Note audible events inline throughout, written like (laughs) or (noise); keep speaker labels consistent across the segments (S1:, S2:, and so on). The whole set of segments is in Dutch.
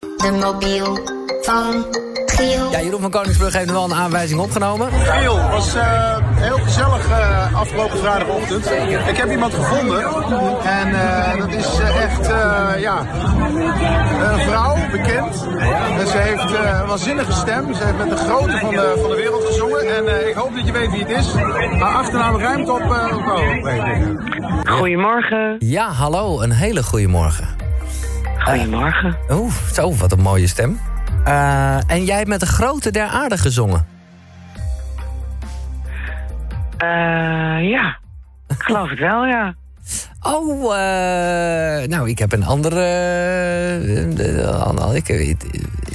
S1: de mobiel van Giel.
S2: Ja, Jeroen van Koningsbrug heeft nu wel een aanwijzing opgenomen.
S3: Giel, was eh, heel gezellig eh, afgelopen vrijdagochtend. Ik heb iemand gevonden. En eh, dat is eh, echt, eh, ja, een vrouw, bekend. En ze heeft eh, een waanzinnige stem. Ze heeft met de grote van de, van de wereld gezongen. En eh, ik hoop dat je weet wie het is. Haar achternaam ruimt op... eh op oh, weet ik.
S4: Goedemorgen.
S2: Ja, hallo, een hele goede morgen.
S4: Goedemorgen.
S2: Oeh, zo, wat een mooie stem. Eh, en jij hebt met de grote der aarde gezongen.
S4: Eh, ja, ik geloof het wel, ja.
S2: Oh, eh, nou, ik heb een andere... eh, eh, ander- ik, eh,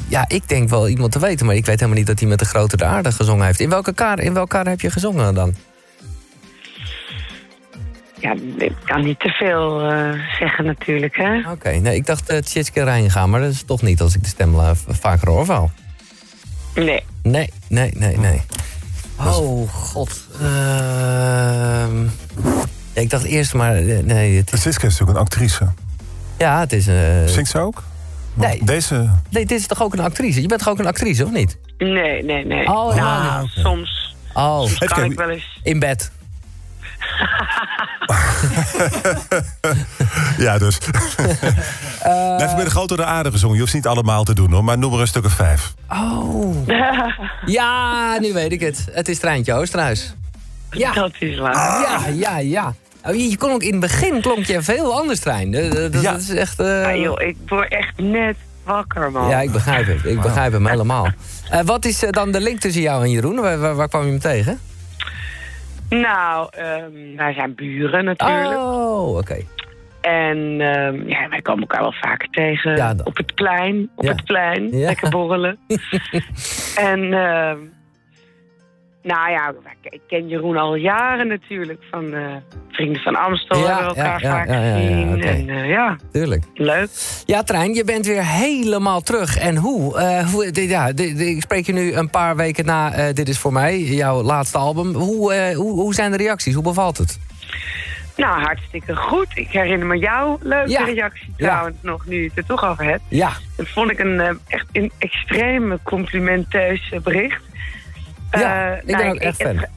S2: ja, ik denk wel iemand te weten, maar ik weet helemaal niet dat hij met de grote der aarde gezongen heeft. In welke kaar, in welke kaar heb je gezongen dan?
S4: Ja, ik kan niet te veel eh, zeggen natuurlijk, hè.
S2: Oké, nee, ik dacht uh, Tjitske Reinga, maar dat is toch niet als ik de stem eh, v- vaker hoor wel.
S4: Nee.
S2: Nee, nee, nee, nee. Oh, god. Ehm, ja, ik dacht eerst maar... eh, Nee, het is,
S5: Siska is natuurlijk een actrice.
S2: ja, het is... eh,
S5: Zingt ze ook? Want
S2: Nee.
S5: Deze...
S2: nee, dit is toch ook een actrice? Je bent toch ook een actrice, of niet?
S4: Nee, nee, nee.
S2: Oh,
S4: nou,
S2: ja, nee.
S4: soms (laughs)
S2: Oh,
S5: Even
S4: kan
S5: kijken.
S4: ik wel eens...
S2: in bed.
S5: Ja, (laughs) dus. Nee, even bij de grote de aarde gezongen. Je hoeft ze niet allemaal te doen hoor, maar noem er een stuk of vijf.
S2: Oh. (laughs) ja, nu weet ik het. Het is Treintje Oosterhuis. Ja.
S4: Dat is waar.
S2: Ja, ja, ja. Oh, Je, je kon ook in het begin klonk je veel anders, Trein. Eh, Dat, dat
S5: Ja.
S2: is echt... eh,
S4: Ah, joh, ik word echt net wakker, man.
S2: Ja, ik begrijp het. Ik begrijp hem helemaal. Eh, wat is eh, dan de link tussen jou en Jeroen? Waar, waar, waar kwam je hem tegen?
S4: Nou, ehm, wij zijn buren natuurlijk.
S2: Oh, oké.
S4: En ehm, ja, wij komen elkaar wel vaker tegen.
S2: Ja, dan.
S4: Op het plein, op
S2: Ja.
S4: het plein.
S2: Ja.
S4: Lekker
S2: (laughs)
S4: borrelen. en ehm, nou ja, ik ken Jeroen al jaren natuurlijk. Van eh, Vrienden van Amstel
S2: Ja,
S4: hebben we elkaar
S2: ja, ja,
S4: vaak
S2: ja, ja, ja,
S4: gezien.
S2: oké.
S4: En eh, ja,
S2: Tuurlijk.
S4: leuk.
S2: Ja, Trein, je bent weer helemaal terug. En hoe? Eh, hoe dit- ja, dit- dit- ik spreek je nu een paar weken na eh, Dit is voor mij, jouw laatste album. Hoe, eh, hoe, hoe zijn de reacties? Hoe bevalt het?
S4: Nou, hartstikke goed. Ik herinner me jouw leuke
S2: Ja.
S4: reactie
S2: Ja.
S4: trouwens nog, nu je het er toch over hebt.
S2: Ja.
S4: Dat vond ik een eh, echt een extreem complimenteus eh, bericht.
S2: Ja,
S4: Eh,
S2: ik ben ook echt fan.
S4: Het,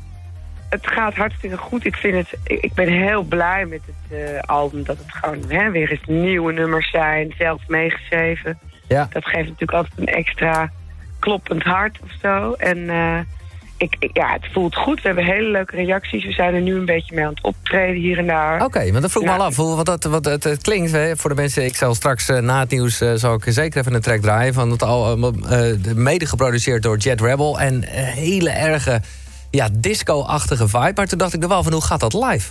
S4: het gaat hartstikke goed. Ik, vind het, ik, ik ben heel blij met het eh, album. Dat het gewoon hè, weer eens nieuwe nummers zijn. Zelf meegeschreven.
S2: Ja.
S4: Dat geeft natuurlijk altijd een extra kloppend hart of zo. En eh, ik, ik- ja, het voelt goed. We hebben hele leuke reacties. We zijn er nu een beetje mee aan het optreden hier en daar.
S2: Oké, want dat vroeg me
S4: Ja.
S2: al af. Hoe, want dat, wat, het, het klinkt hè, voor de mensen. Ik zal straks eh, na het nieuws eh, zal ik zeker even een track draaien. Van het al, eh, mede geproduceerd door Jet Rebel. En een hele erge ja, disco-achtige vibe. Maar toen dacht ik er wel van hoe gaat dat live?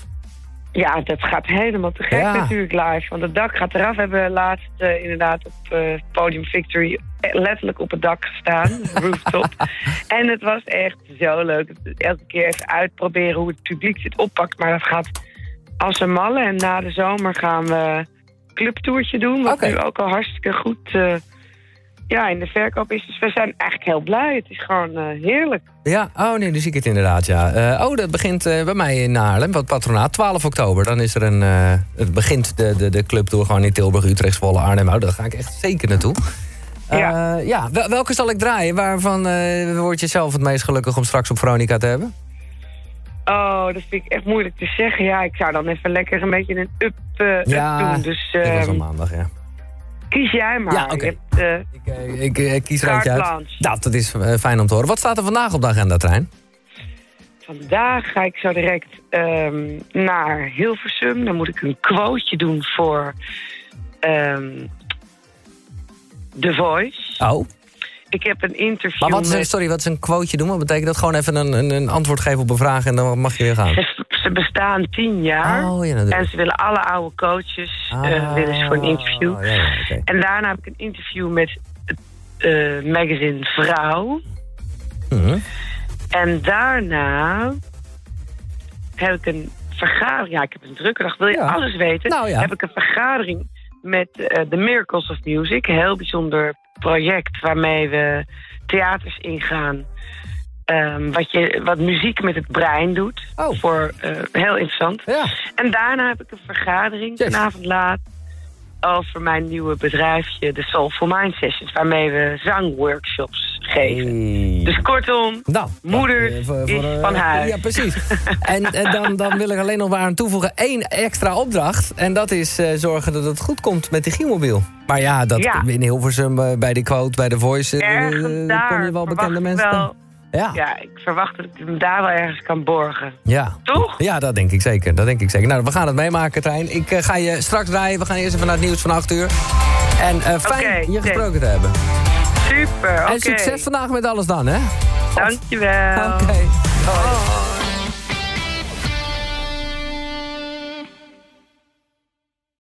S4: Ja, dat gaat helemaal te gek
S2: Ja.
S4: natuurlijk live. Want het dak gaat eraf. We hebben laatst eh, inderdaad op eh, Podium Victory eh, letterlijk op het dak gestaan. (laughs) rooftop. En het was echt zo leuk. Elke keer even uitproberen hoe het publiek dit oppakt. Maar dat gaat als een malle. En na de zomer gaan we een clubtoertje doen. Wat
S2: Oké.
S4: nu ook al hartstikke goed eh, ja, in de verkoop is. Dus we zijn eigenlijk heel blij. Het is gewoon eh, heerlijk.
S2: Ja, oh nee, nu zie ik het inderdaad, ja. Eh, oh, dat begint eh, bij mij in Haarlem, wat patronaat. 12 oktober, dan is er een... eh, het begint de, de, de club door gewoon in Tilburg, Utrecht, Zwolle, Arnhem. Oh, daar ga ik echt zeker naartoe.
S4: Ja.
S2: Eh, ja, wel- welke zal ik draaien? Waarvan eh, word je zelf het meest gelukkig om straks op Veronica te hebben?
S4: Oh, dat vind ik echt moeilijk te zeggen. Ja, ik zou dan even lekker een beetje een up, eh,
S2: Ja,
S4: up doen. Dus
S2: Ik was
S4: ehm,
S2: op maandag, ja.
S4: kies jij maar.
S2: Ja, oké.
S4: Je hebt, eh,
S2: Ik, eh, ik, eh, kies er
S4: Carte
S2: eentje uit.
S4: blanche.
S2: Dat, dat is eh, fijn om te horen. Wat staat er vandaag op de agenda, Trein?
S4: vandaag ga ik zo direct ehm, naar Hilversum. Dan moet ik een quoteje doen voor ehm, The Voice.
S2: Oh,
S4: Ik heb een interview
S2: maar wat is, een-
S4: met...
S2: sorry, wat is een quoteje doen? Wat betekent dat? Gewoon even een, een, een antwoord geven op een vraag en dan mag je weer gaan.
S4: Ze, ze bestaan tien jaar.
S2: Oh, ja, natuurlijk.
S4: en ze willen alle oude coaches eh,
S2: Ah,
S4: willen ze voor een interview.
S2: ja, ja, oké.
S4: En daarna heb ik een interview met het eh, magazine Vrouw.
S2: Mhm.
S4: En daarna heb ik een vergadering. Ja, ik heb een drukke dag. Wil je
S2: Ja.
S4: alles weten?
S2: Nou ja.
S4: Heb ik een vergadering met eh, The Miracles of Music. Een heel bijzonder project waarmee we theaters ingaan. Ehm, wat, je, wat muziek met het brein doet.
S2: Oh.
S4: Voor, eh, heel interessant.
S2: Ja.
S4: En daarna heb ik een vergadering,
S2: Yes.
S4: vanavond laat, over mijn nieuwe bedrijfje, de Soulful Mind Sessions, waarmee we zangworkshops geven. Dus kortom,
S2: Nou,
S4: moeders
S2: eh, voor-
S4: is
S2: voor, eh,
S4: van huis.
S2: Ja, precies. en eh, dan, dan wil ik alleen nog maar aan toevoegen één extra opdracht. En dat is eh, zorgen dat het goed komt met die Gielmobiel. Maar ja, dat
S4: Ja.
S2: in Hilversum, eh, bij de quote, bij de voice... eh,
S4: Ergens
S2: eh,
S4: daar
S2: kom je wel
S4: verwacht
S2: bekende
S4: ik
S2: mensen. Ah.
S4: wel-
S2: Ja. Ja.
S4: Ja, ik verwacht dat ik hem daar wel ergens kan borgen.
S2: ja.
S4: Toch?
S2: dat denk ik zeker. Dat denk ik zeker. Nou, we gaan het meemaken, Trein. Ik eh, ga je straks draaien. We gaan eerst even naar het nieuws van 8 uur. En eh, fijn
S4: Oké,
S2: je
S4: oké.
S2: gesproken te hebben.
S4: Super, oké.
S2: En succes vandaag met alles dan, hè?
S4: Dankjewel.
S2: Oké.
S4: Hoi.